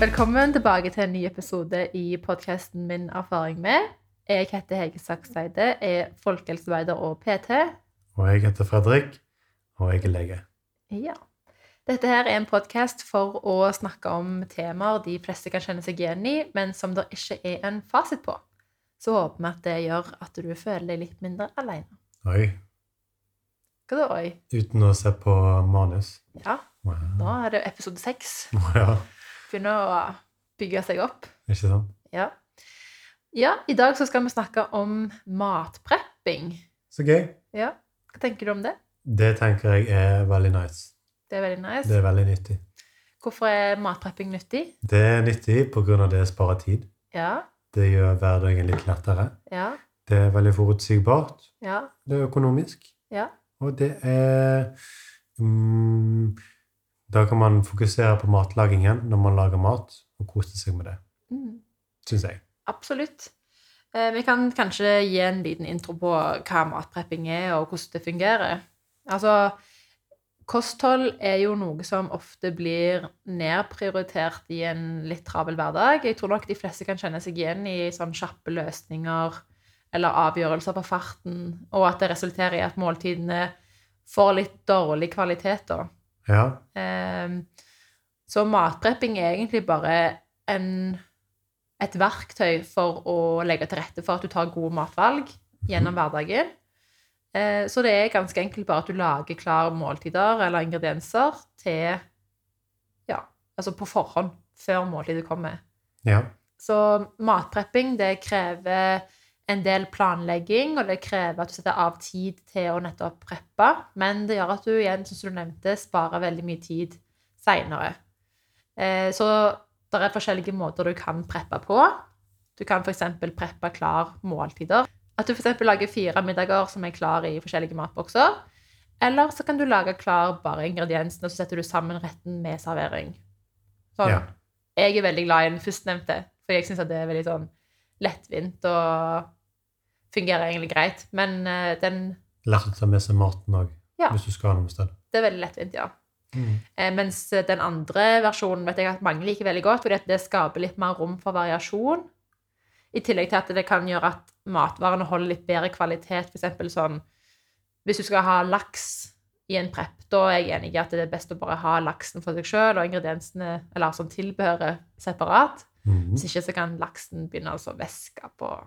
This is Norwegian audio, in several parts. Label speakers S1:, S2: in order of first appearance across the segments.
S1: Velkommen tilbake til en ny episode i podkasten Min erfaring med. Jeg heter Hege Sakseide, er folkehelsearbeider og PT.
S2: Og jeg heter Fredrik, og jeg er lege.
S1: Ja. Dette her er en podkast for å snakke om temaer de fleste kan kjenne seg igjen i, men som det ikke er en fasit på. Så håper vi at det gjør at du føler deg litt mindre alene.
S2: Oi,
S1: Hva da, oi?
S2: uten å se på manus.
S1: Ja,
S2: Wow.
S1: nå er det episode seks.
S2: Ja,
S1: Begynner å bygge seg opp.
S2: ikke sant?
S1: Ja. ja, i dag så skal vi snakke om matprepping.
S2: Så gøy.
S1: Ja, hva tenker du om det?
S2: Det tenker jeg er veldig nice.
S1: Det er veldig nice.
S2: Det er veldig nyttig.
S1: Hvorfor er matprepping nyttig?
S2: Det er nyttig på grunn av det sparer tid.
S1: Ja,
S2: Det gjør hverdagen litt lettere.
S1: ja,
S2: Det er veldig forutsigbart.
S1: ja,
S2: Det er økonomisk.
S1: ja,
S2: Og det er mm, Da kan man fokusere på matlagingen når man lager mat, og kose seg med det,
S1: mm,
S2: syns jeg.
S1: absolutt. Eh, vi kan kanskje gi en liten intro på hva matprepping er, og hvordan det fungerer. Altså, kosthold er jo noe som ofte blir nedprioritert i en litt travel hverdag. Jeg tror nok de fleste kan kjenne seg igjen i sånn kjappe løsninger eller avgjørelser på farten, og at det resulterer i at måltidene får litt dårlig kvalitet, da.
S2: Ja.
S1: Ehm, Så matprepping er egentlig bare en, et verktøy for å legge til rette for at du tar gode matvalg gjennom hverdagen. Eh, Så det er ganske enkelt bare at du lager klare måltider eller ingredienser til Ja, altså på forhånd, før måltidet kommer.
S2: ja.
S1: Så matprepping, det krever en del planlegging, og det krever at du setter av tid til å nettopp preppe. Men det gjør at du igjen, som du nevnte, sparer veldig mye tid seinere. Eh, så det er forskjellige måter du kan preppe på. Du kan f.eks. preppe klar måltider. At du f.eks. lager fire middager som er klar i forskjellige matbokser. Eller så kan du lage klar bare ingrediensene, og så setter du sammen retten med servering. Sånn
S2: Ja.
S1: jeg er veldig glad i den førstnevnte, for jeg syns at det er veldig sånn lettvint og fungerer egentlig greit. Men eh, den
S2: Lett å ta med seg maten òg,
S1: Ja.
S2: hvis du skal noe sted.
S1: Det er veldig lettvint, ja.
S2: Mm.
S1: Eh, mens den andre versjonen vet jeg at mange liker veldig godt, fordi at det skaper litt mer rom for variasjon. I tillegg til at det kan gjøre at matvarene holder litt bedre kvalitet. For eksempel sånn Hvis du skal ha laks i en prep, da er jeg enig i at det er best å bare ha laksen for seg sjøl og ingrediensene, eller sånn tilbehøret, separat.
S2: Mhm.
S1: Hvis ikke så kan laksen begynne altså å væske på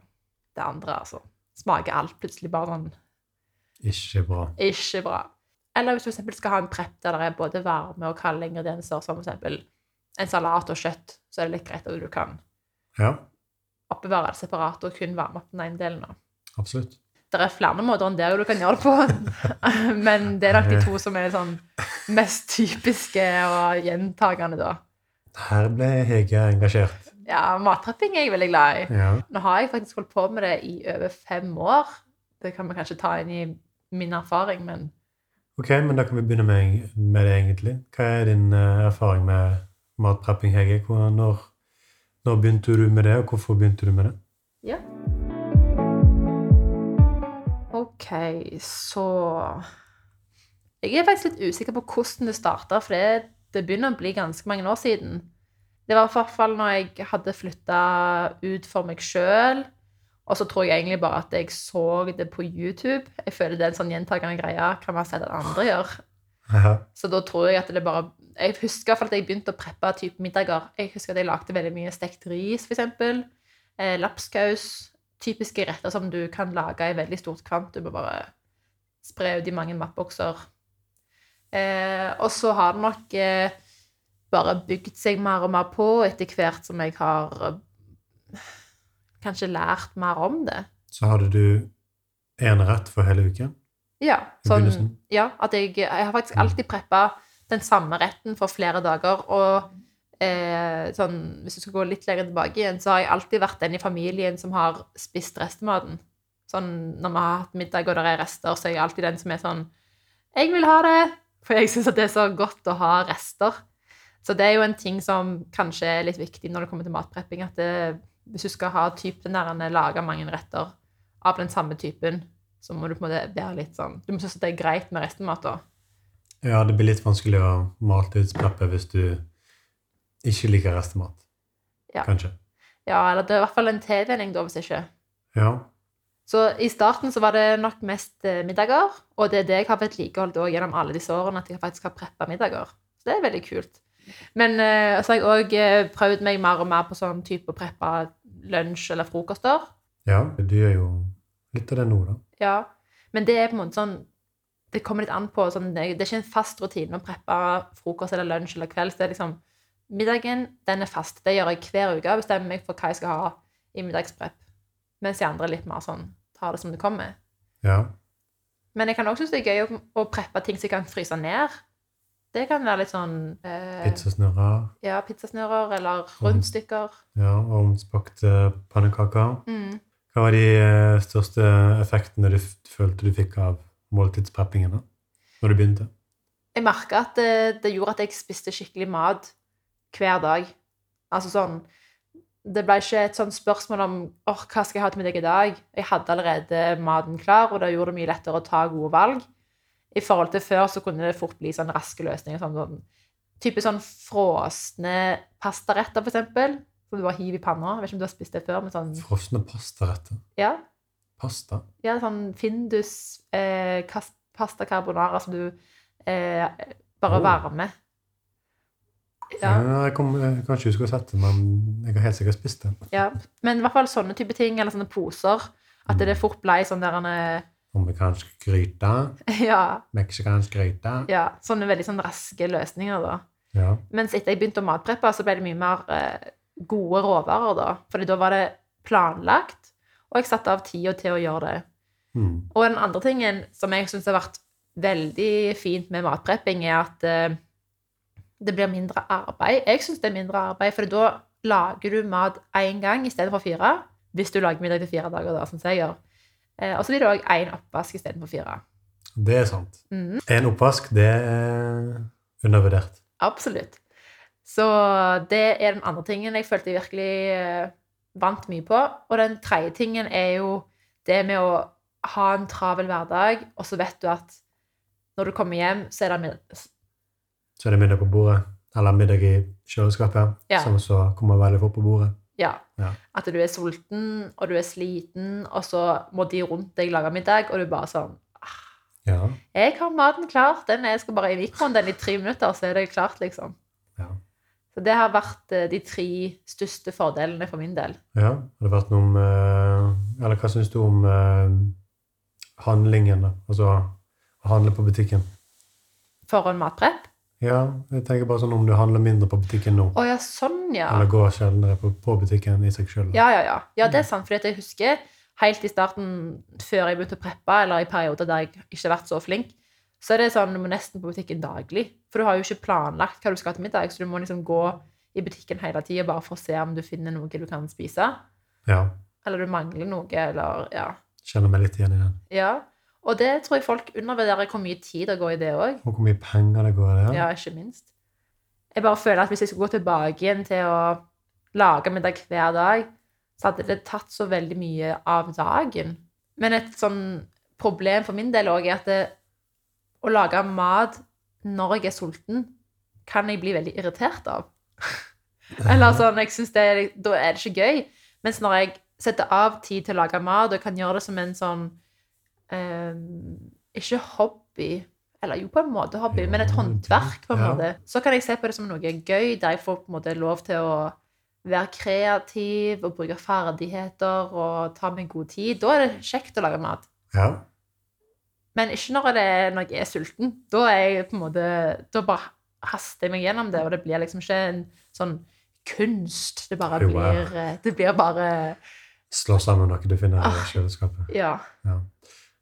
S1: det andre. altså. Smaker alt plutselig bare sånn
S2: Ikke bra.
S1: ikke bra. Eller hvis du for eksempel skal ha en prepp der det er både varme og kalde ingredienser, som for eksempel en salat og kjøtt, så er det litt greit at du kan
S2: Ja,
S1: oppbevare det separat og kun varme opp den ene delen. da.
S2: absolutt.
S1: Det er flere måter enn det du kan gjøre det på, men det er nok de to som er sånn mest typiske og gjentagende, da.
S2: Her ble Hege engasjert.
S1: Ja, matprepping er jeg veldig glad i.
S2: Ja.
S1: Nå har jeg faktisk holdt på med det i over fem år. Det kan vi kanskje ta inn i min erfaring, men
S2: Ok, men da kan vi begynne med, med det, egentlig. Hva er din eh, erfaring med matprepping, Hege? Hvor- Når, når begynte du med det, og hvorfor begynte du med det?
S1: ja. OK, så Jeg er faktisk litt usikker på hvordan det starta, for det, det begynner å bli ganske mange år siden. Det var i hvert fall når jeg hadde flytta ut for meg sjøl. Og så tror jeg egentlig bare at jeg så det på YouTube. Jeg føler det er en sånn gjentagende greie. Kan man si at andre gjør?
S2: Ja.
S1: Så da tror jeg at det bare Jeg husker i hvert fall at jeg begynte å preppe type middager. Jeg husker at jeg lagde veldig mye stekt ris, f.eks. Eh, lapskaus. Typiske retter som du kan lage i veldig stort kvantum og bare spre ut i mange matbokser. Eh, og så har det nok eh, bare bygd seg mer og mer på etter hvert som jeg har eh, kanskje lært mer om det.
S2: Så hadde du én rett for hele uken?
S1: Ja,
S2: I
S1: sånn,
S2: begynnelsen?
S1: ja at jeg, jeg har faktisk alltid preppa den samme retten for flere dager. Og eh, sånn, hvis du skal gå litt lenger tilbake igjen, så har jeg alltid vært den i familien som har spist restematen. Sånn, når vi har hatt middag og det er rester, så er jeg alltid den som er sånn Jeg vil ha det! For jeg syns det er så godt å ha rester. Så det er jo en ting som kanskje er litt viktig når det kommer til matprepping. at det, Hvis du skal ha typen der en lager mange retter av den samme typen, så må du på en måte være litt sånn Du må synes at det er greit med restemat, da.
S2: Ja, det blir litt vanskelig å matutpreppe hvis du ikke liker restemat.
S1: Ja.
S2: kanskje.
S1: Ja, eller det er i hvert fall en tilvenning, da, hvis ikke.
S2: Ja.
S1: Så i starten så var det nok mest eh, middager, og det er det jeg har vedlikeholdt også gjennom alle disse årene, at jeg faktisk har preppa middager. Så det er veldig kult. Men eh, så har jeg òg eh, prøvd meg mer og mer på sånn type å preppe lunsj eller frokoster.
S2: ja. Du gjør jo litt av det nå, da.
S1: Ja. Men det er på en måte sånn Det kommer litt an på. Sånn, det er det er ikke en fast rutine å preppe frokost eller lunsj eller kvelds. Det er liksom Middagen, den er fast. Det gjør jeg hver uke. Bestemmer meg for hva jeg skal ha i middagsprepp. Mens de andre er litt mer sånn tar det som det kommer.
S2: Ja.
S1: Men jeg kan også synes det er gøy å, å preppe ting som jeg kan fryse ned. Det kan være litt sånn eh,
S2: Pizzasnurrer.
S1: Ja, pizzasnører eller rundstykker.
S2: Ja, ovnsbakte pannekaker.
S1: Mm.
S2: Hva var de eh, største effektene du f- følte du fikk av måltidspreppingen da? Når du begynte?
S1: Jeg merka at det, det gjorde at jeg spiste skikkelig mat hver dag. Altså sånn Det ble ikke et sånt spørsmål om «Åh, hva skal jeg ha til middag i dag. Jeg hadde allerede maten klar, og det gjorde det mye lettere å ta gode valg. I forhold til før så kunne det fort bli sånn raske løsninger. Sånn, sånn, type sånn frosne pastaretter, for eksempel. Som du bare hiver i panna. Jeg vet ikke om du har spist det før, men sånn
S2: Frosne pastaretter.
S1: Ja.
S2: Pasta?
S1: Ja, sånn Findus eh, kas- pasta carbonara som du eh, bare
S2: Oh.
S1: varmer.
S2: Ja.
S1: Ja,
S2: jeg, kom, jeg kan ikke huske å ha sett det, men jeg har helt sikkert spist det.
S1: ja. Men i hvert fall sånne type ting, eller sånne poser. At det fort ble sånn der en, eh,
S2: Amerikansk gryte.
S1: ja,
S2: Meksikansk gryte.
S1: ja, sånne veldig sånn raske løsninger, da.
S2: Ja.
S1: Mens etter jeg begynte å matpreppe, så ble det mye mer eh, gode råvarer, da. Fordi da var det planlagt, og jeg satte av tida til å gjøre det.
S2: Mm.
S1: Og den andre tingen som jeg syns har vært veldig fint med matprepping, er at eh, det blir mindre arbeid. Jeg syns det er mindre arbeid, for da lager du mat én gang i stedet for fire. Hvis du lager middag til fire dager, da, sånn som jeg gjør. Eh, og så blir det òg én oppvask istedenfor fire.
S2: Det er sant.
S1: Mhm.
S2: En oppvask, det er undervurdert.
S1: Absolutt. Så det er den andre tingen jeg følte jeg virkelig eh, vant mye på. Og den tredje tingen er jo det med å ha en travel hverdag, og så vet du at når du kommer hjem, så er det mid
S2: Så er det middag på bordet, eller middag i kjøleskapet,
S1: Ja.
S2: som så kommer veldig fort på bordet.
S1: ja,
S2: Ja.
S1: at du er sulten, og du er sliten, og så må de rundt deg lage middag, og du er bare sånn
S2: Ja.
S1: 'Jeg har maten klar. Den jeg skal bare i mikroen den i tre minutter, så er det klart', liksom.
S2: Ja.
S1: Så det har vært eh, de tre største fordelene for min del.
S2: Ja, har det vært noe om eh, Eller hva syns du om eh, handlingen, da? Altså å handle på butikken?
S1: For en matprepp.
S2: Ja, jeg tenker bare sånn om du handler mindre på butikken nå.
S1: Å ja, sånn, ja.
S2: Eller går sjeldnere på, på butikken i seg sjøl.
S1: Ja, ja, ja. Ja, det er sant. Fordi at jeg husker helt i starten, før jeg begynte å preppe, eller i perioder der jeg ikke har vært så flink, så er det sånn du må nesten på butikken daglig. For du har jo ikke planlagt hva du skal ha til middag, så du må liksom gå i butikken hele tida bare for å se om du finner noe du kan spise.
S2: Ja,
S1: Eller du mangler noe, eller ja.
S2: kjenner meg litt igjen i den.
S1: ja. Og det tror jeg folk undervurderer hvor mye tid det går i det òg.
S2: Og hvor mye penger det går i det.
S1: Ja, ikke minst. Jeg bare føler at hvis jeg skulle gå tilbake igjen til å lage middag hver dag, så hadde det tatt så veldig mye av dagen. Men et sånn problem for min del òg er at det, å lage mat når jeg er sulten, kan jeg bli veldig irritert av. Eller sånn, jeg synes det, er- Da er det ikke gøy. Mens når jeg setter av tid til å lage mat, og kan gjøre det som en sånn eh, Ikke hobby, eller jo på en måte hobby,
S2: Jo,
S1: men et håndverk, på en
S2: ja.
S1: måte. Så kan jeg se på det som noe gøy, der jeg får på en måte lov til å være kreativ og bruke ferdigheter og ta meg god tid. Da er det kjekt å lage mat.
S2: Ja.
S1: Men ikke når, det, er- når jeg er sulten. Da er jeg på en måte Da bare haster jeg meg gjennom det, og det blir liksom ikke en sånn kunst. Det bare
S2: Jo, ja.
S1: blir eh, Det blir bare
S2: Slå sammen noe du finner i
S1: Ah.
S2: kjøleskapet.
S1: Ja.
S2: Ja.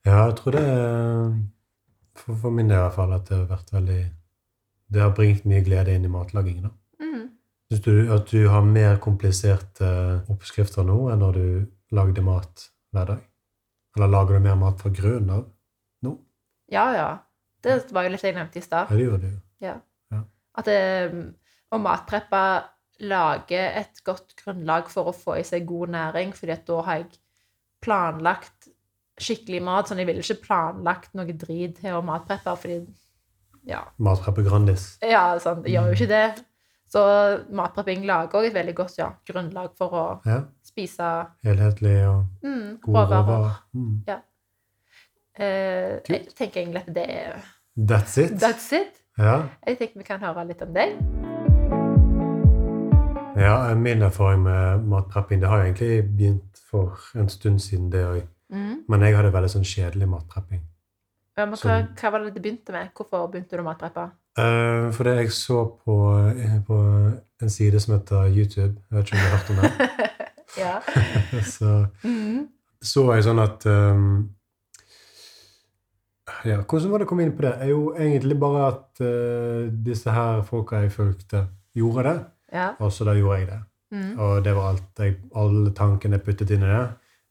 S2: ja, jeg tror det er for, for min del i hvert fall at det har vært veldig Det har bringt mye glede inn i matlagingen, da.
S1: Mm.
S2: Syns du at du har mer kompliserte eh, oppskrifter nå enn når du lagde mat hver dag? Eller lager du mer mat fra grunnen av?
S1: Ja, ja. Det var jo litt det jeg nevnte i stad.
S2: Ja, det gjør du jo.
S1: At eh, å matpreppe lager et godt grunnlag for å få i seg god næring, fordi at da har jeg planlagt skikkelig mat. Sånn, jeg ville ikke planlagt noe drit til å matpreppe, fordi Ja.
S2: Matpreppe Grandis.
S1: Ja, sant. Jeg gjør jo ikke det. Så matprepping lager òg et veldig godt ja, grunnlag for å
S2: Ja.
S1: spise
S2: Helhetlig og
S1: mm,
S2: gode
S1: råvarer.
S2: råvarer. Mm.
S1: Eh, jeg tenker egentlig at det er
S2: That's it.
S1: That's it.
S2: Ja.
S1: Jeg tenker vi kan høre litt om deg.
S2: Ja, eh, min erfaring med matprepping det har jo egentlig begynt for en stund siden, det òg.
S1: Mm.
S2: Men jeg hadde veldig sånn kjedelig matprepping.
S1: Ja, men hva,
S2: Sånn.
S1: hva var det det begynte med? Hvorfor begynte du å matpreppe?
S2: Eh, for det jeg så på, eh, på en side som heter YouTube Jeg vet ikke om du har hørt om det.
S1: ja.
S2: så
S1: Mm.
S2: så jeg sånn at eh, Ja, hvordan var det å komme inn på det? Jo, egentlig bare at eh, disse her folka jeg fulgte, gjorde det.
S1: ja.
S2: Og så da gjorde jeg det.
S1: Mm.
S2: Og det var alt jeg, alle tankene jeg puttet inn i det.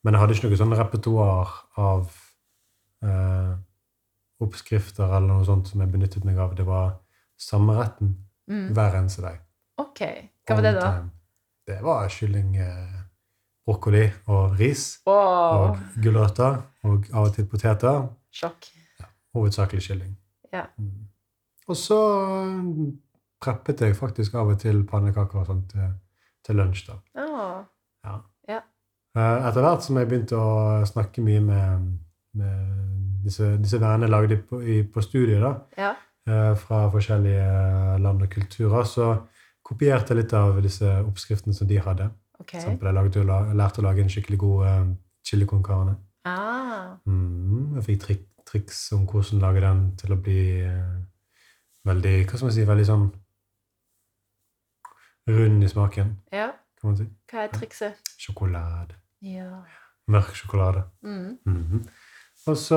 S2: Men jeg hadde ikke noe sånn repertoar av eh, oppskrifter eller noe sånt som jeg benyttet meg av. Det var samme retten
S1: Mm.
S2: hver eneste dag.
S1: OK. Hva var det,
S2: All
S1: da?
S2: time. Det var kylling, eh, brokkoli og ris.
S1: Wow.
S2: Og gulrøtter. Og av og til poteter.
S1: Sjokk.
S2: Hovedsakelig kylling.
S1: Ja.
S2: Mm. Og så mm, preppet jeg faktisk av og til pannekaker og sånt til, til lunsj. da.
S1: Å.
S2: Eh, Etter hvert som jeg begynte å snakke mye med, med disse, disse vennene jeg lagde på, i, på studiet, da,
S1: Ja.
S2: eh, fra forskjellige land og kulturer, så kopierte jeg litt av disse oppskriftene som de hadde.
S1: OK.
S2: For eksempel, jeg, lagde, jo la- jeg lærte å lage en skikkelig god eh, chili con carne.
S1: Ah.
S2: Mm, jeg fikk trik, triks om hvordan lage den til å bli eh, veldig Hva skal man si? Veldig sånn rund i smaken,
S1: Ja.
S2: kan man si.
S1: Hva er trikset?
S2: Sjokolade.
S1: Ja.
S2: Mørk sjokolade.
S1: Mm.
S2: Mhm. Og så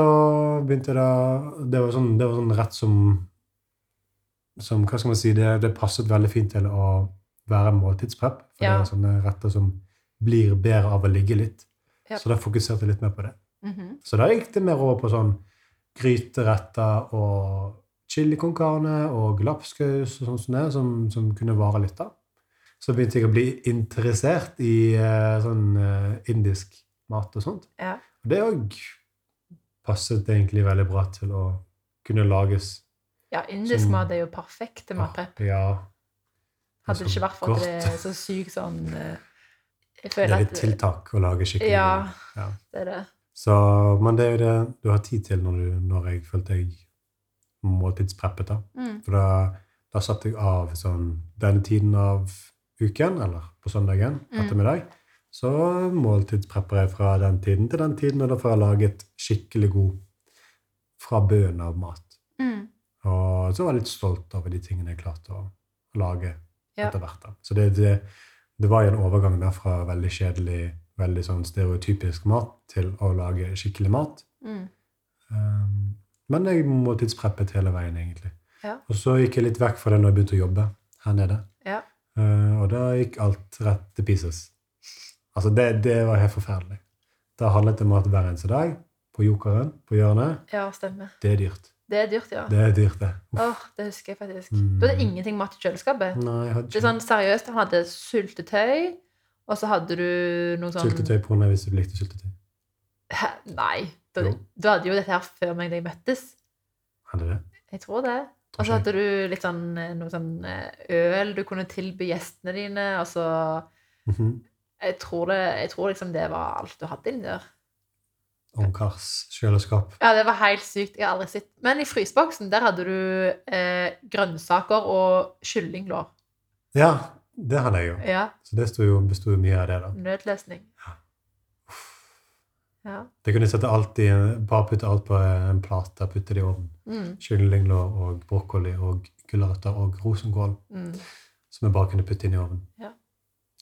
S2: begynte jeg da Det var sånn, det var sånn rett som som, hva skal man si, det, det passet veldig fint til å være måltidsprep. For
S1: Ja.
S2: det er sånne retter som blir bedre av å ligge litt.
S1: Ja.
S2: Så da fokuserte jeg litt mer på det.
S1: Mhm.
S2: Så da gikk det mer over på sånn gryteretter og chili con carne og lapskaus og sånt som det, som, som kunne vare litt da. Så begynte jeg å bli interessert i eh, sånn eh, indisk mat og sånt.
S1: Ja.
S2: Og det òg passet egentlig veldig bra til å kunne lages.
S1: ja. Indisk
S2: Som-
S1: mat er jo perfekt til
S2: Ah.
S1: matprepp.
S2: Ja.
S1: Hadde det
S2: så
S1: ikke vært for at
S2: godt.
S1: det er så sykt sånn eh, Jeg
S2: Det
S1: føler
S2: er
S1: at
S2: litt tiltak å lage skikkelig.
S1: Ja,
S2: Ja.
S1: det er det.
S2: Så, men det er jo det du har tid til når, du, når jeg følte jeg måltidspreppet. da.
S1: Mm.
S2: For da, da satte jeg av sånn denne tiden av uken, eller på søndagen
S1: Mm.
S2: ettermiddag, så måltidsprepper jeg fra den tiden til den tiden, og da får jeg laget skikkelig god fra bøen av mat.
S1: Mm.
S2: Og så var jeg litt stolt over de tingene jeg klarte å lage
S1: Ja.
S2: etter hvert. da. Så det, det, det var jo en overgang der fra veldig kjedelig, veldig sånn stereotypisk mat til å lage skikkelig mat.
S1: Mm.
S2: Um, men jeg må tidspreppet hele veien, egentlig.
S1: Ja.
S2: Og så gikk jeg litt vekk fra det når jeg begynte å jobbe her nede.
S1: Ja.
S2: Uh, og da gikk alt rett til pieces. Altså, det, det var helt forferdelig. Da handlet det om mat hver eneste dag. På Jokeren, på hjørnet.
S1: ja, stemmer.
S2: Det er dyrt.
S1: Det er dyrt, ja.
S2: Det er dyrt, det. Uff.
S1: Åh, det husker jeg faktisk.
S2: Mm.
S1: Du hadde ingenting mat i kjøleskapet.
S2: Nei, jeg hadde
S1: Det er sånn seriøst, Han hadde syltetøy, og så hadde du noe sånn
S2: Syltetøy på henne hvis du likte syltetøy.
S1: Hæ? Nei. Du,
S2: Jo.
S1: du hadde jo dette her før meg da jeg møttes.
S2: Er det det?
S1: Jeg tror det. Og så
S2: Tror ikke
S1: hadde du litt sånn, eh, noe sånn eh, øl du kunne tilby gjestene dine. Og så
S2: jeg. Mhm.
S1: Jeg tror, det, jeg tror liksom det var alt du hadde inni der.
S2: Ungkars kjøleskap.
S1: Ja, det var helt sykt. Jeg har aldri sett Men i fryseboksen der hadde du eh, grønnsaker og kyllinglår.
S2: Ja, det hadde jeg jo.
S1: Ja.
S2: Så det sto jo, besto jo mye av det, da.
S1: Nødløsning. Ja.
S2: Det kunne jeg sette alt i, bare putte alt på en plate, putte det i ovnen.
S1: Mm,
S2: Kyllinglår og brokkoli og gulrøtter og rosenkål
S1: mm,
S2: som jeg bare kunne putte inn i ovnen.
S1: Ja.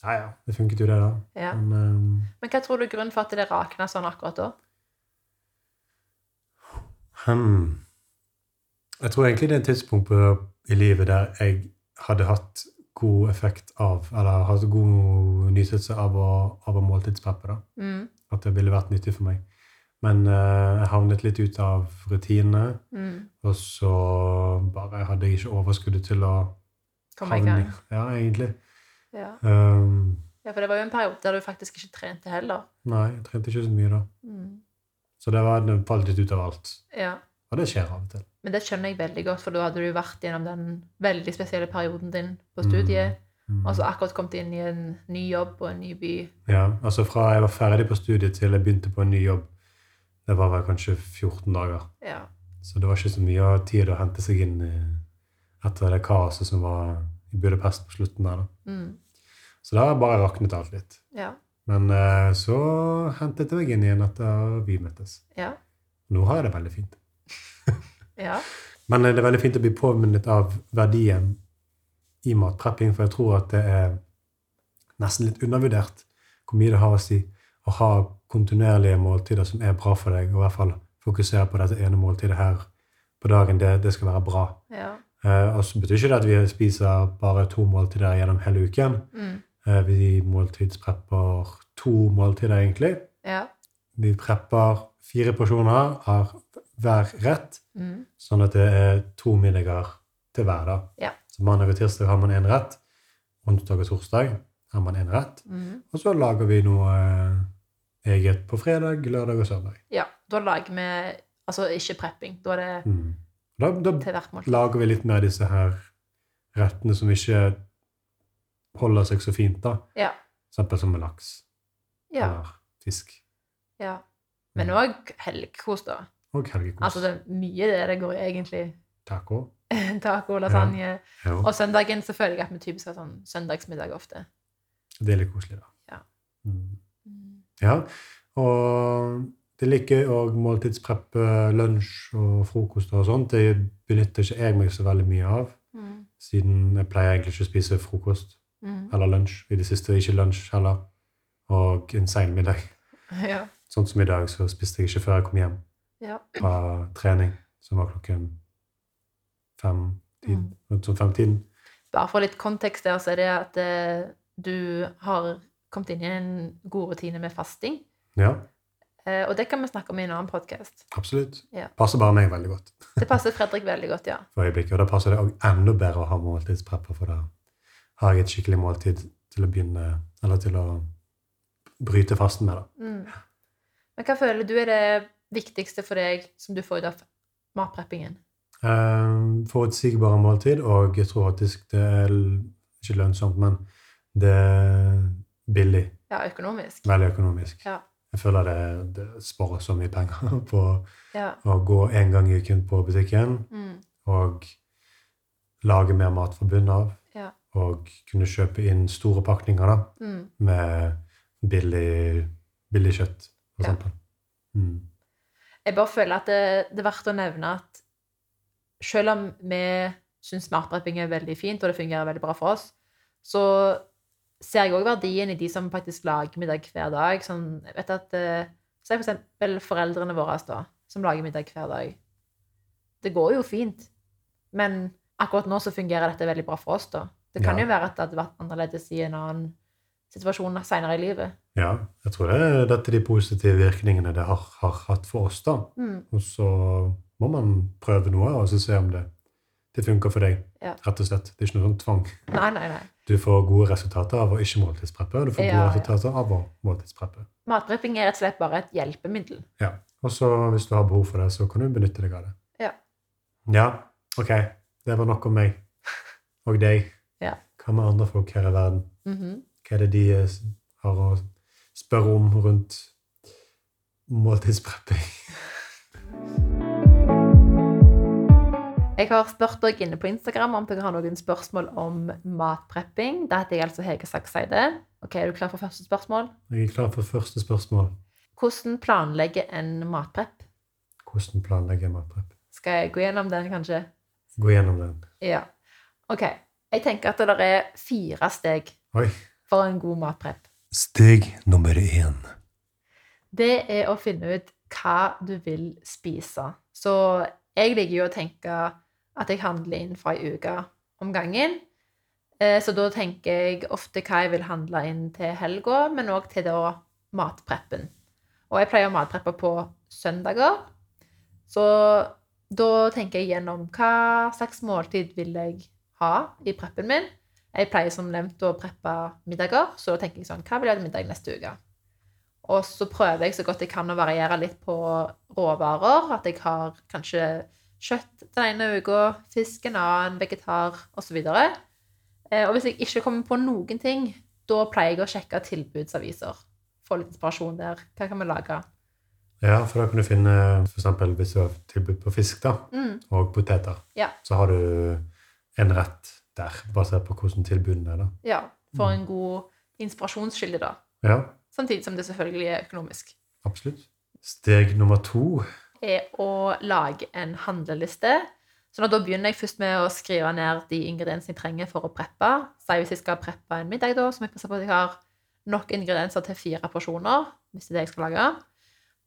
S2: Ja, ja. Det funket jo, det, da.
S1: ja.
S2: Men ehm,
S1: Men hva tror du er grunnen for at det rakna sånn akkurat da?
S2: hmm. Jeg tror egentlig det er et tidspunkt på, i livet der jeg hadde hatt god effekt av, eller hatt god nytelse av å, av å måltidspreppe. da.
S1: Mm,
S2: At det ville vært nyttig for meg. Men eh, jeg havnet litt ut av rutinene.
S1: mm.
S2: Og så bare hadde jeg ikke overskuddet til å
S1: Kom i gang.
S2: Ja, egentlig.
S1: Ja.
S2: Ehm,
S1: ja, for det var jo en periode der du faktisk ikke trente heller.
S2: nei, jeg trente ikke så mye da.
S1: Mm,
S2: Så det var det falt litt ut av alt.
S1: ja.
S2: Og det skjer av og til.
S1: Men det skjønner jeg veldig godt, for da hadde du vært gjennom den veldig spesielle perioden din på studiet,
S2: Mm.
S1: og så akkurat kommet inn i en ny jobb og en ny by.
S2: Ja, altså fra jeg var ferdig på studiet til jeg begynte på en ny jobb, det var vel kanskje 14 dager.
S1: Ja.
S2: Så det var ikke så mye tid å hente seg inn i, etter det kaoset som var i Budapest på slutten der. Da.
S1: Mm.
S2: Så da har jeg bare raknet alt litt.
S1: Ja.
S2: Men eh, så hentet jeg meg inn igjen etter vi møttes.
S1: Ja.
S2: Nå har jeg det veldig fint.
S1: Ja.
S2: Men eh, det er veldig fint å bli påminnet av verdien i matprepping, for jeg tror at det er nesten litt undervurdert hvor mye det har å si å ha kontinuerlige måltider som er bra for deg, og i hvert fall fokusere på dette ene måltidet her på dagen. Det, det skal være bra.
S1: ja.
S2: Eh, og så betyr ikke det at vi spiser bare to måltider gjennom hele uken.
S1: Mm.
S2: Eh, vi måltidsprepper to måltider, egentlig.
S1: Ja.
S2: Vi prepper fire porsjoner av hver rett.
S1: Mm.
S2: Sånn at det er to middager til hver dag.
S1: Ja.
S2: Så mandag og tirsdag har man én rett. Onsdag og torsdag har man én rett.
S1: Mm.
S2: Og så lager vi noe eh, eget på fredag, lørdag og søndag.
S1: ja. Da lager vi Altså ikke prepping. Da er det
S2: Mm. Da, da
S1: til hvert måltid.
S2: lager vi litt mer disse her rettene som ikke holder seg så fint, da.
S1: Ja.
S2: For eksempel som med laks
S1: Ja. Mm.
S2: eller fisk.
S1: ja. Men òg helgekos, da.
S2: Og helgekos.
S1: Altså det er mye det det går i, egentlig.
S2: Taco.
S1: Taco, lasagne.
S2: Ja.
S1: Og søndagen så føler jeg at vi typisk har sånn søndagsmiddag ofte.
S2: Det er litt koselig, da.
S1: Ja.
S2: Mm. Ja, og det liker jeg òg måltidspreppe, lunsj og frokost og sånt. Det benytter ikke jeg meg så veldig mye av,
S1: Mm.
S2: siden jeg pleier egentlig ikke å spise frokost
S1: Mm.
S2: eller lunsj. I det siste ikke lunsj heller, og en sein middag.
S1: Ja.
S2: Sånn som i dag, så spiste jeg ikke før jeg kom hjem
S1: Ja.
S2: fra trening, som var klokken fem-tiden. rundt sånn femtiden.
S1: Bare for litt kontekst der, så er det at eh, du har kommet inn i en god rutine med fasting.
S2: Ja,
S1: Eh, og det kan vi snakke om i en annen podkast.
S2: absolutt.
S1: Ja.
S2: Passer bare meg veldig godt.
S1: Det passer Fredrik veldig godt, ja.
S2: for øyeblikket. Og da passer det også enda bedre å ha måltidsprepper, for da har jeg et skikkelig måltid til å begynne, eller til å bryte fasten med. Da.
S1: Mm. Men hva føler du er det viktigste for deg som du får ut av matpreppingen?
S2: Ehm, forutsigbare måltid, og jeg tror faktisk det er l- ikke lønnsomt, men det er billig.
S1: Ja, økonomisk.
S2: Veldig økonomisk.
S1: Ja.
S2: Jeg føler det, det sparer så mye penger på
S1: Ja.
S2: å gå en gang i uken på butikken
S1: Mm.
S2: og lage mer mat fra bunnen av.
S1: Ja.
S2: Og kunne kjøpe inn store pakninger, da.
S1: Mm.
S2: med billig, billig kjøtt, for
S1: Ja.
S2: eksempel. Mm.
S1: Jeg bare føler at det, det er verdt å nevne at selv om vi syns matprepping er veldig fint, og det fungerer veldig bra for oss, så ser jeg òg verdien i de som faktisk lager middag hver dag. Sånn, jeg vet at, eh, Se for eksempel foreldrene våre da, som lager middag hver dag. Det går jo fint, men akkurat nå så fungerer dette veldig bra for oss. da. Det kan
S2: Ja.
S1: jo være at det hadde vært annerledes i en annen situasjon seinere i livet.
S2: Ja, jeg tror det er dette er de positive virkningene det har, har hatt for oss, da.
S1: Mm,
S2: Og så må man prøve noe, og så se om det, det funker for deg,
S1: Ja.
S2: rett og slett. Det er ikke noe sånn tvang.
S1: Nei, nei, nei.
S2: Du får gode resultater av å ikke måltidspreppe, og du får
S1: Ja,
S2: gode
S1: ja.
S2: resultater av å måltidspreppe.
S1: Matprepping er rett og slett bare et hjelpemiddel.
S2: Ja. Og så, hvis du har behov for det, så kan du benytte deg av det.
S1: Ja.
S2: Ja, ok. Det var nok om meg. Og deg.
S1: Ja.
S2: Hva med andre folk her i verden?
S1: Mhm.
S2: Hva er det de eh, har å spørre om rundt måltidsprepping?
S1: Jeg har spurt dere inne på Instagram om dere har noen spørsmål om matprepping. Da heter jeg altså Hege Sakseide. Ok, Er du klar for første spørsmål?
S2: Jeg er klar for første spørsmål.
S1: Hvordan planlegger en matprepp?
S2: Hvordan planlegger jeg matprepp?
S1: Skal jeg gå gjennom den, kanskje?
S2: Gå gjennom den.
S1: Ja. Ok. Jeg tenker at det er fire steg
S2: Oi.
S1: for en god matprepp.
S2: Steg nummer én.
S1: Det er å finne ut hva du vil spise. Så jeg liker jo å tenke at jeg handler inn for ei uke om gangen. Eh, Så da tenker jeg ofte hva jeg vil handle inn til helga, men òg til da matpreppen. Og jeg pleier å matpreppe på søndager. Så da tenker jeg gjennom hva slags måltid vil jeg ha i preppen min. Jeg pleier som nevnt å preppe middager, så da tenker jeg sånn Hva vil jeg ha til middag neste uke? Og så prøver jeg så godt jeg kan å variere litt på råvarer. At jeg har kanskje kjøtt den ene uka, fisk en annen, vegetar osv. Eh, Og hvis jeg ikke kommer på noen ting, da pleier jeg å sjekke tilbudsaviser. Få litt inspirasjon der. Hva kan vi lage?
S2: Ja, for da kan du finne eh, for eksempel hvis du har tilbud på fisk da,
S1: Mm,
S2: og poteter.
S1: Ja.
S2: Så har du en rett der, basert på hvordan tilbudene er. da.
S1: ja. For en god inspirasjonskilde, da.
S2: Ja,
S1: Samtidig som det selvfølgelig er økonomisk.
S2: absolutt. Steg nummer to.
S1: er å lage en handleliste. Så da begynner jeg først med å skrive ned de ingrediensene jeg trenger for å preppe. Si hvis jeg skal preppe en middag, da, så må jeg passe på at jeg har nok ingredienser til fire porsjoner. hvis det er det jeg skal lage.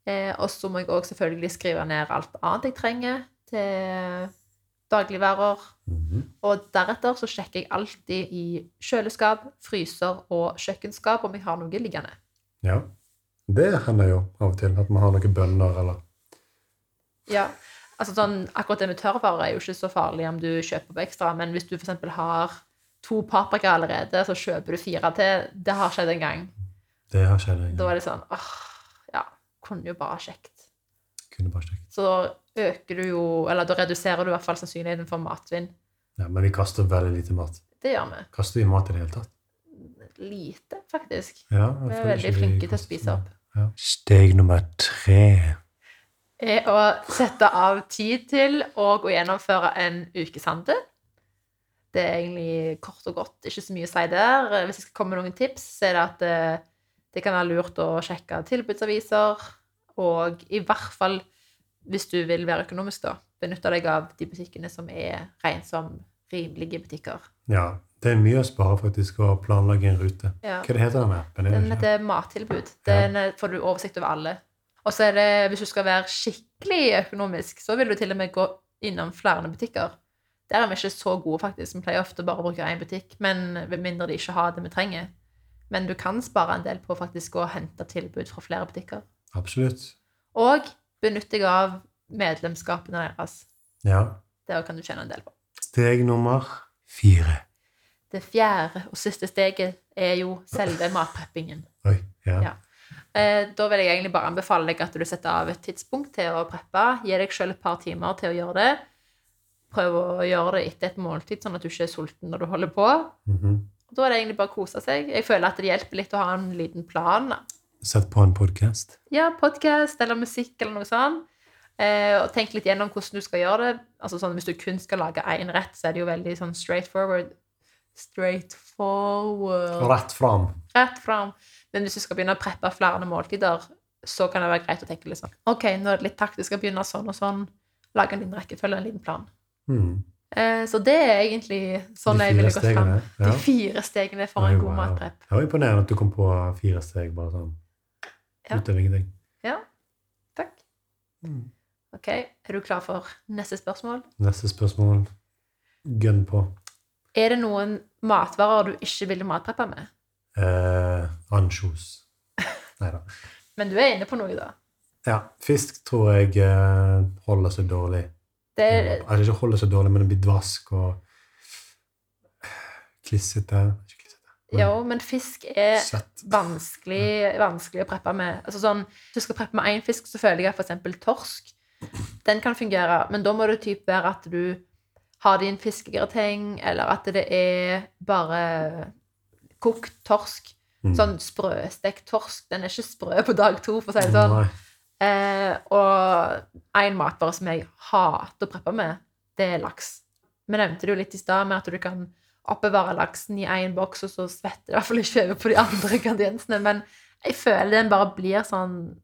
S1: Eh, og så må jeg også selvfølgelig skrive ned alt annet jeg trenger til dagligvarer.
S2: Mhm.
S1: Og deretter så sjekker jeg alltid i kjøleskap, fryser og kjøkkenskap om jeg har noe liggende.
S2: Ja. Det hender jo av og til at man har noen bønner eller
S1: Ja, altså sånn, akkurat det med tørrvarer er jo ikke så farlig om du kjøper på ekstra, men hvis du for eksempel har to paprika allerede, så kjøper du fire til. Det har skjedd en gang.
S2: Det har skjedd en
S1: Da
S2: gang.
S1: er det sånn åh, ja, kunne jo bare kjekt.
S2: Kunne bare sjekke.
S1: Så da øker du jo, eller da reduserer du i hvert fall sannsynligheten for matsvinn.
S2: Ja, men vi kaster veldig lite mat.
S1: Det gjør vi.
S2: Kaster vi mat i det hele tatt?
S1: Lite, faktisk.
S2: Ja, jeg
S1: Vi er
S2: føler
S1: veldig
S2: ikke vi
S1: flinke til å
S2: kaster
S1: spise opp.
S2: Ja. Steg nummer tre.
S1: er å sette av tid til og å gjennomføre en ukeshandel. Det er egentlig kort og godt ikke så mye å si der. Hvis jeg skal komme med noen tips, så er det at eh, det kan være lurt å sjekke tilbudsaviser, og i hvert fall hvis du vil være økonomisk, da, benytte deg av de butikkene som er rent som rimelige butikker.
S2: Ja, det er mye å spare faktisk å planlegge en rute.
S1: Ja.
S2: Hva det heter den appen? Er det
S1: Den
S2: ikke?
S1: heter Mattilbud. Den eh, får du oversikt over alle. Og så er det, hvis du skal være skikkelig økonomisk, så vil du til og med gå innom flere butikker. Der er vi ikke så gode, faktisk. Vi pleier ofte bare å bruke én butikk, men med mindre de ikke har det vi trenger. Men du kan spare en del på faktisk å hente tilbud fra flere butikker.
S2: Absolutt.
S1: Og benytte deg av medlemskapene deres.
S2: Ja.
S1: Der kan du tjene en del på.
S2: Steg nummer fire.
S1: Det fjerde og siste steget er jo selve matpreppingen.
S2: Oi. Ja.
S1: Ja. Eh, Da vil jeg egentlig bare anbefale deg at du setter av et tidspunkt til å preppe. Gi deg selv et par timer til å gjøre det. Prøv å gjøre det etter et måltid, sånn at du ikke er sulten når du holder på.
S2: Mhm.
S1: Da er det egentlig bare å kose seg. Jeg føler at det hjelper litt å ha en liten plan.
S2: Sett på en podkast.
S1: Ja, podkast eller musikk eller noe sånt. Eh, og tenk litt gjennom hvordan du skal gjøre det. Altså sånn, Hvis du kun skal lage én rett, så er det jo veldig sånn straight forward. Straight forward
S2: Rett fram.
S1: rett fram. Men hvis du skal begynne å preppe flere måltider, så kan det være greit å tenke litt sånn Ok, nå er det litt taktisk å begynne sånn og sånn. Lage en liten rekkefølge, en liten plan.
S2: Mhm.
S1: Eh, så det er egentlig sånn
S2: De
S1: jeg
S2: fire
S1: ville gått fram.
S2: stegene. Ja.
S1: De fire stegene for
S2: Oi,
S1: en god
S2: wow.
S1: matprepp.
S2: Det var imponerende at du kom på fire steg bare sånn.
S1: Ja.
S2: Ut av ingenting.
S1: Takk.
S2: Mm.
S1: Ok, er du klar for neste spørsmål?
S2: Neste spørsmål. Gønn på.
S1: Er det noen matvarer du ikke ville matpreppe med?
S2: Eh, Ansjos. Nei da.
S1: Men du er inne på noe, da.
S2: Ja, fisk tror jeg eh, holder seg dårlig.
S1: Det er,
S2: Eller altså, ikke holder seg dårlig, men det blir dvask og klissete. Ikke klissete. men
S1: jo, men fisk er
S2: Søtt.
S1: vanskelig, vanskelig å preppe med. Altså sånn, Hvis du skal preppe med én fisk, så føler jeg at f.eks. torsk den kan fungere. Men da må det typ være at du har det i en fiskegrateng, eller at det er bare kokt torsk.
S2: Mm.
S1: Sånn sprøstekt torsk. Den er ikke sprø på dag to, for å si det sånn.
S2: Nei.
S1: Eh, og en matvare som jeg hater å preppe med, det er laks. Vi nevnte det jo litt i stad med at du kan oppbevare laksen i én boks, og så svetter det i hvert fall ikke over på de andre ingrediensene. Men jeg føler den bare blir sånn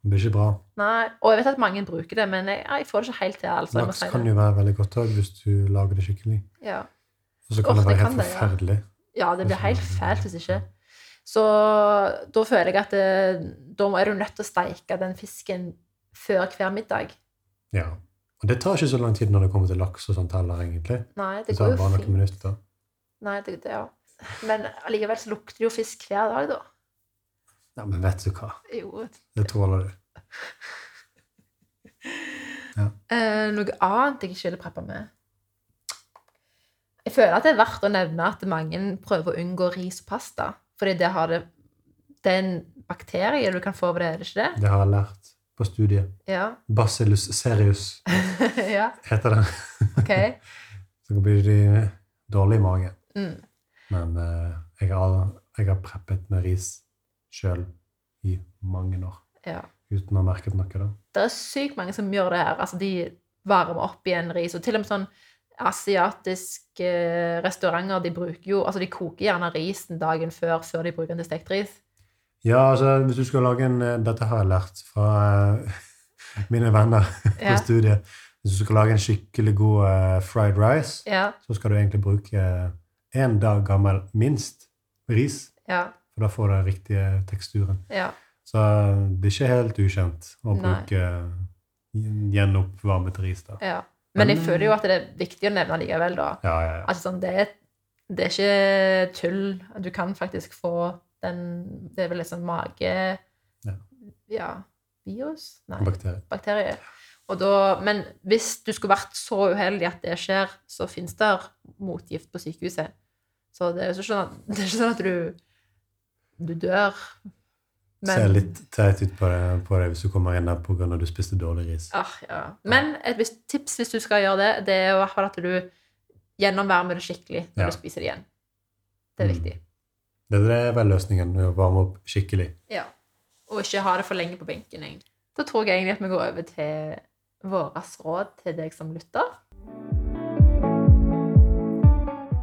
S2: Det blir ikke bra.
S1: Nei. Og jeg vet at mange bruker det, men jeg, jeg får det ikke helt til. Altså, jeg må
S2: Laks
S1: si
S2: kan
S1: det.
S2: jo være veldig godt òg, hvis du lager det skikkelig.
S1: Ja.
S2: Og så kan
S1: Åh,
S2: det være
S1: det
S2: helt
S1: kan det, ja.
S2: forferdelig.
S1: Ja, det blir
S2: Hvis man-
S1: helt fælt hvis ikke. Så da føler jeg at eh, da er du nødt til å steike den fisken før hver middag.
S2: Ja. Og det tar ikke så lang tid når det kommer til laks og sånt heller, egentlig.
S1: Nei,
S2: Det
S1: det går jo
S2: tar bare
S1: fint.
S2: noen minutter.
S1: Nei, det, det, ja. Men allikevel så lukter det jo fisk hver dag, da.
S2: Ja, men vet du hva?
S1: Jo.
S2: Det tåler du.
S1: Eh, noe annet jeg ikke ville preppa med? Jeg føler at det er verdt å nevne at mange prøver å unngå ris og pasta. Fordi det har det Den bakterier du kan få ved det, er det ikke det?
S2: Det har jeg lært på studiet.
S1: Ja.
S2: Bacillus serius
S1: ja.
S2: heter det.
S1: Ok.
S2: Så blir de dårlige i magen.
S1: Mm.
S2: Men eh, jeg, har, jeg har preppet med ris sjøl i mange år
S1: Ja.
S2: uten å ha merket noe. da.
S1: Det er sykt mange som gjør det her. Altså, de varmer opp igjen ris. Og til og med sånn asiatiske restauranter, de bruker jo Altså, de koker gjerne risen dagen før før de bruker den til stekt ris.
S2: Ja, altså, hvis du skal lage en eh, Dette har jeg lært fra eh, mine venner på
S1: Ja.
S2: studiet. Hvis du skal lage en skikkelig god eh, fried rice,
S1: Ja.
S2: så skal du egentlig bruke én dag gammel minst ris.
S1: Ja.
S2: For da får du den riktige teksturen.
S1: Ja.
S2: Så eh, det er ikke helt ukjent å
S1: Nei.
S2: bruke gjen- gjenoppvarmet ris. da.
S1: ja. Men jeg
S2: Men-
S1: føler jo at det er viktig å nevne likevel, da.
S2: Ja, ja, ja.
S1: Altså, sånn, det, er, det er ikke tull. Du kan faktisk få den Det er vel liksom mage...
S2: Ja.
S1: ja virus? Nei.
S2: Bakterier.
S1: bakterier. Og da, men hvis du skulle vært så uheldig at det skjer, så fins det motgift på sykehuset. Så det er jo ikke sånn at, det er ikke sånn at du, du dør.
S2: Ser litt teit ut på deg, på deg hvis du kommer inn der pga. at du spiste dårlig ris.
S1: Ah, ja. Men et visst tips hvis du skal gjøre det, det er jo i hvert fall at du gjennomvarmer det skikkelig når
S2: Ja.
S1: du spiser det igjen. Det er
S2: Mm.
S1: viktig.
S2: Det er vel løsningen. å Varme opp skikkelig.
S1: Ja. Og ikke ha det for lenge på benken. egentlig. Da tror jeg egentlig at vi går over til våres råd til deg som lytter.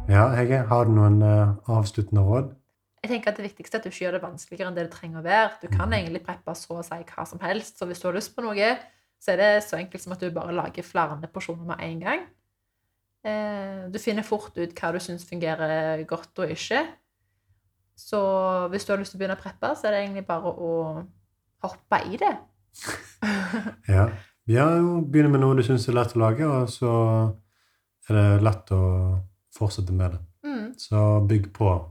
S2: Ja, Hege, har du noen eh, avsluttende råd?
S1: jeg tenker at Det viktigste er at du ikke gjør det vanskeligere enn det det trenger å være. Du kan
S2: Mhm.
S1: egentlig preppe så å si hva som helst. Så hvis du har lyst på noe, så er det så enkelt som at du bare lager flere porsjoner med en gang. Eh, Du finner fort ut hva du syns fungerer godt og ikke. Så hvis du har lyst til å begynne å preppe, så er det egentlig bare å hoppe i det.
S2: Ja. ja, jo, begynne med noe du syns er lett å lage, og så er det lett å fortsette med det.
S1: Mm,
S2: Så bygg på.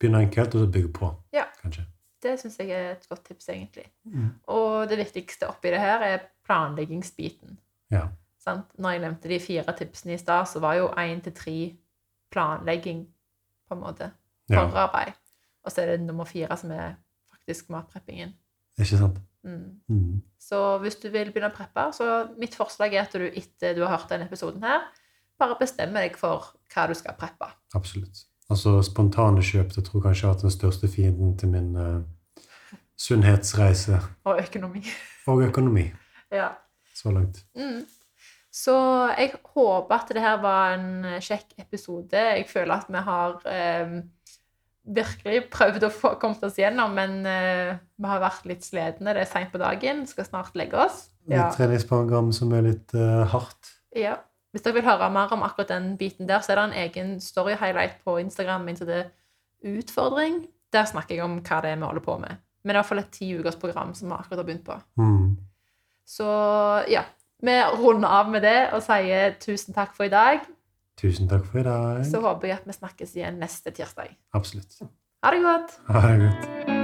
S2: Begynn enkelt, og så bygg på,
S1: Ja.
S2: kanskje.
S1: det syns jeg er et godt tips, egentlig.
S2: Mm.
S1: Og det viktigste oppi det her er planleggingsbiten.
S2: Ja.
S1: Sant? Når jeg nevnte de fire tipsene i stad, så var jo én til tre planlegging, på en måte.
S2: Ja,
S1: Forarbeid. Og så er det nummer fire som er faktisk matpreppingen.
S2: ikke sant?
S1: Mm.
S2: Mm.
S1: Så hvis du vil begynne å preppe, så mitt forslag er at du etter du har hørt denne episoden her, bare bestemmer deg for hva du skal preppe.
S2: Absolutt. Altså spontane kjøp det tror jeg kanskje har vært den største fienden til min eh, sunnhetsreise
S1: Og økonomi.
S2: og økonomi
S1: ja.
S2: så langt.
S1: Mm. Så jeg håper at det her var en eh, kjekk episode. Jeg føler at vi har eh, virkelig prøvd å få kommet oss gjennom, men eh, vi har vært litt sledne. Det er seint på dagen, skal snart legge oss.
S2: Et
S1: Ja.
S2: treningsprogram som er litt eh, hardt.
S1: Ja. Hvis dere vil høre mer om akkurat den biten der, så er det en egen story-highlight på Instagram min som det er utfordring. Der snakker jeg om hva det er vi holder på med. Men det er iallfall et ti ukers program som vi akkurat har begynt på.
S2: Mm.
S1: Så ja, vi runder av med det og sier tusen takk for i dag.
S2: Tusen takk for i dag.
S1: Så håper jeg at vi snakkes igjen neste tirsdag.
S2: Absolutt.
S1: Ha det godt!
S2: Ha det godt.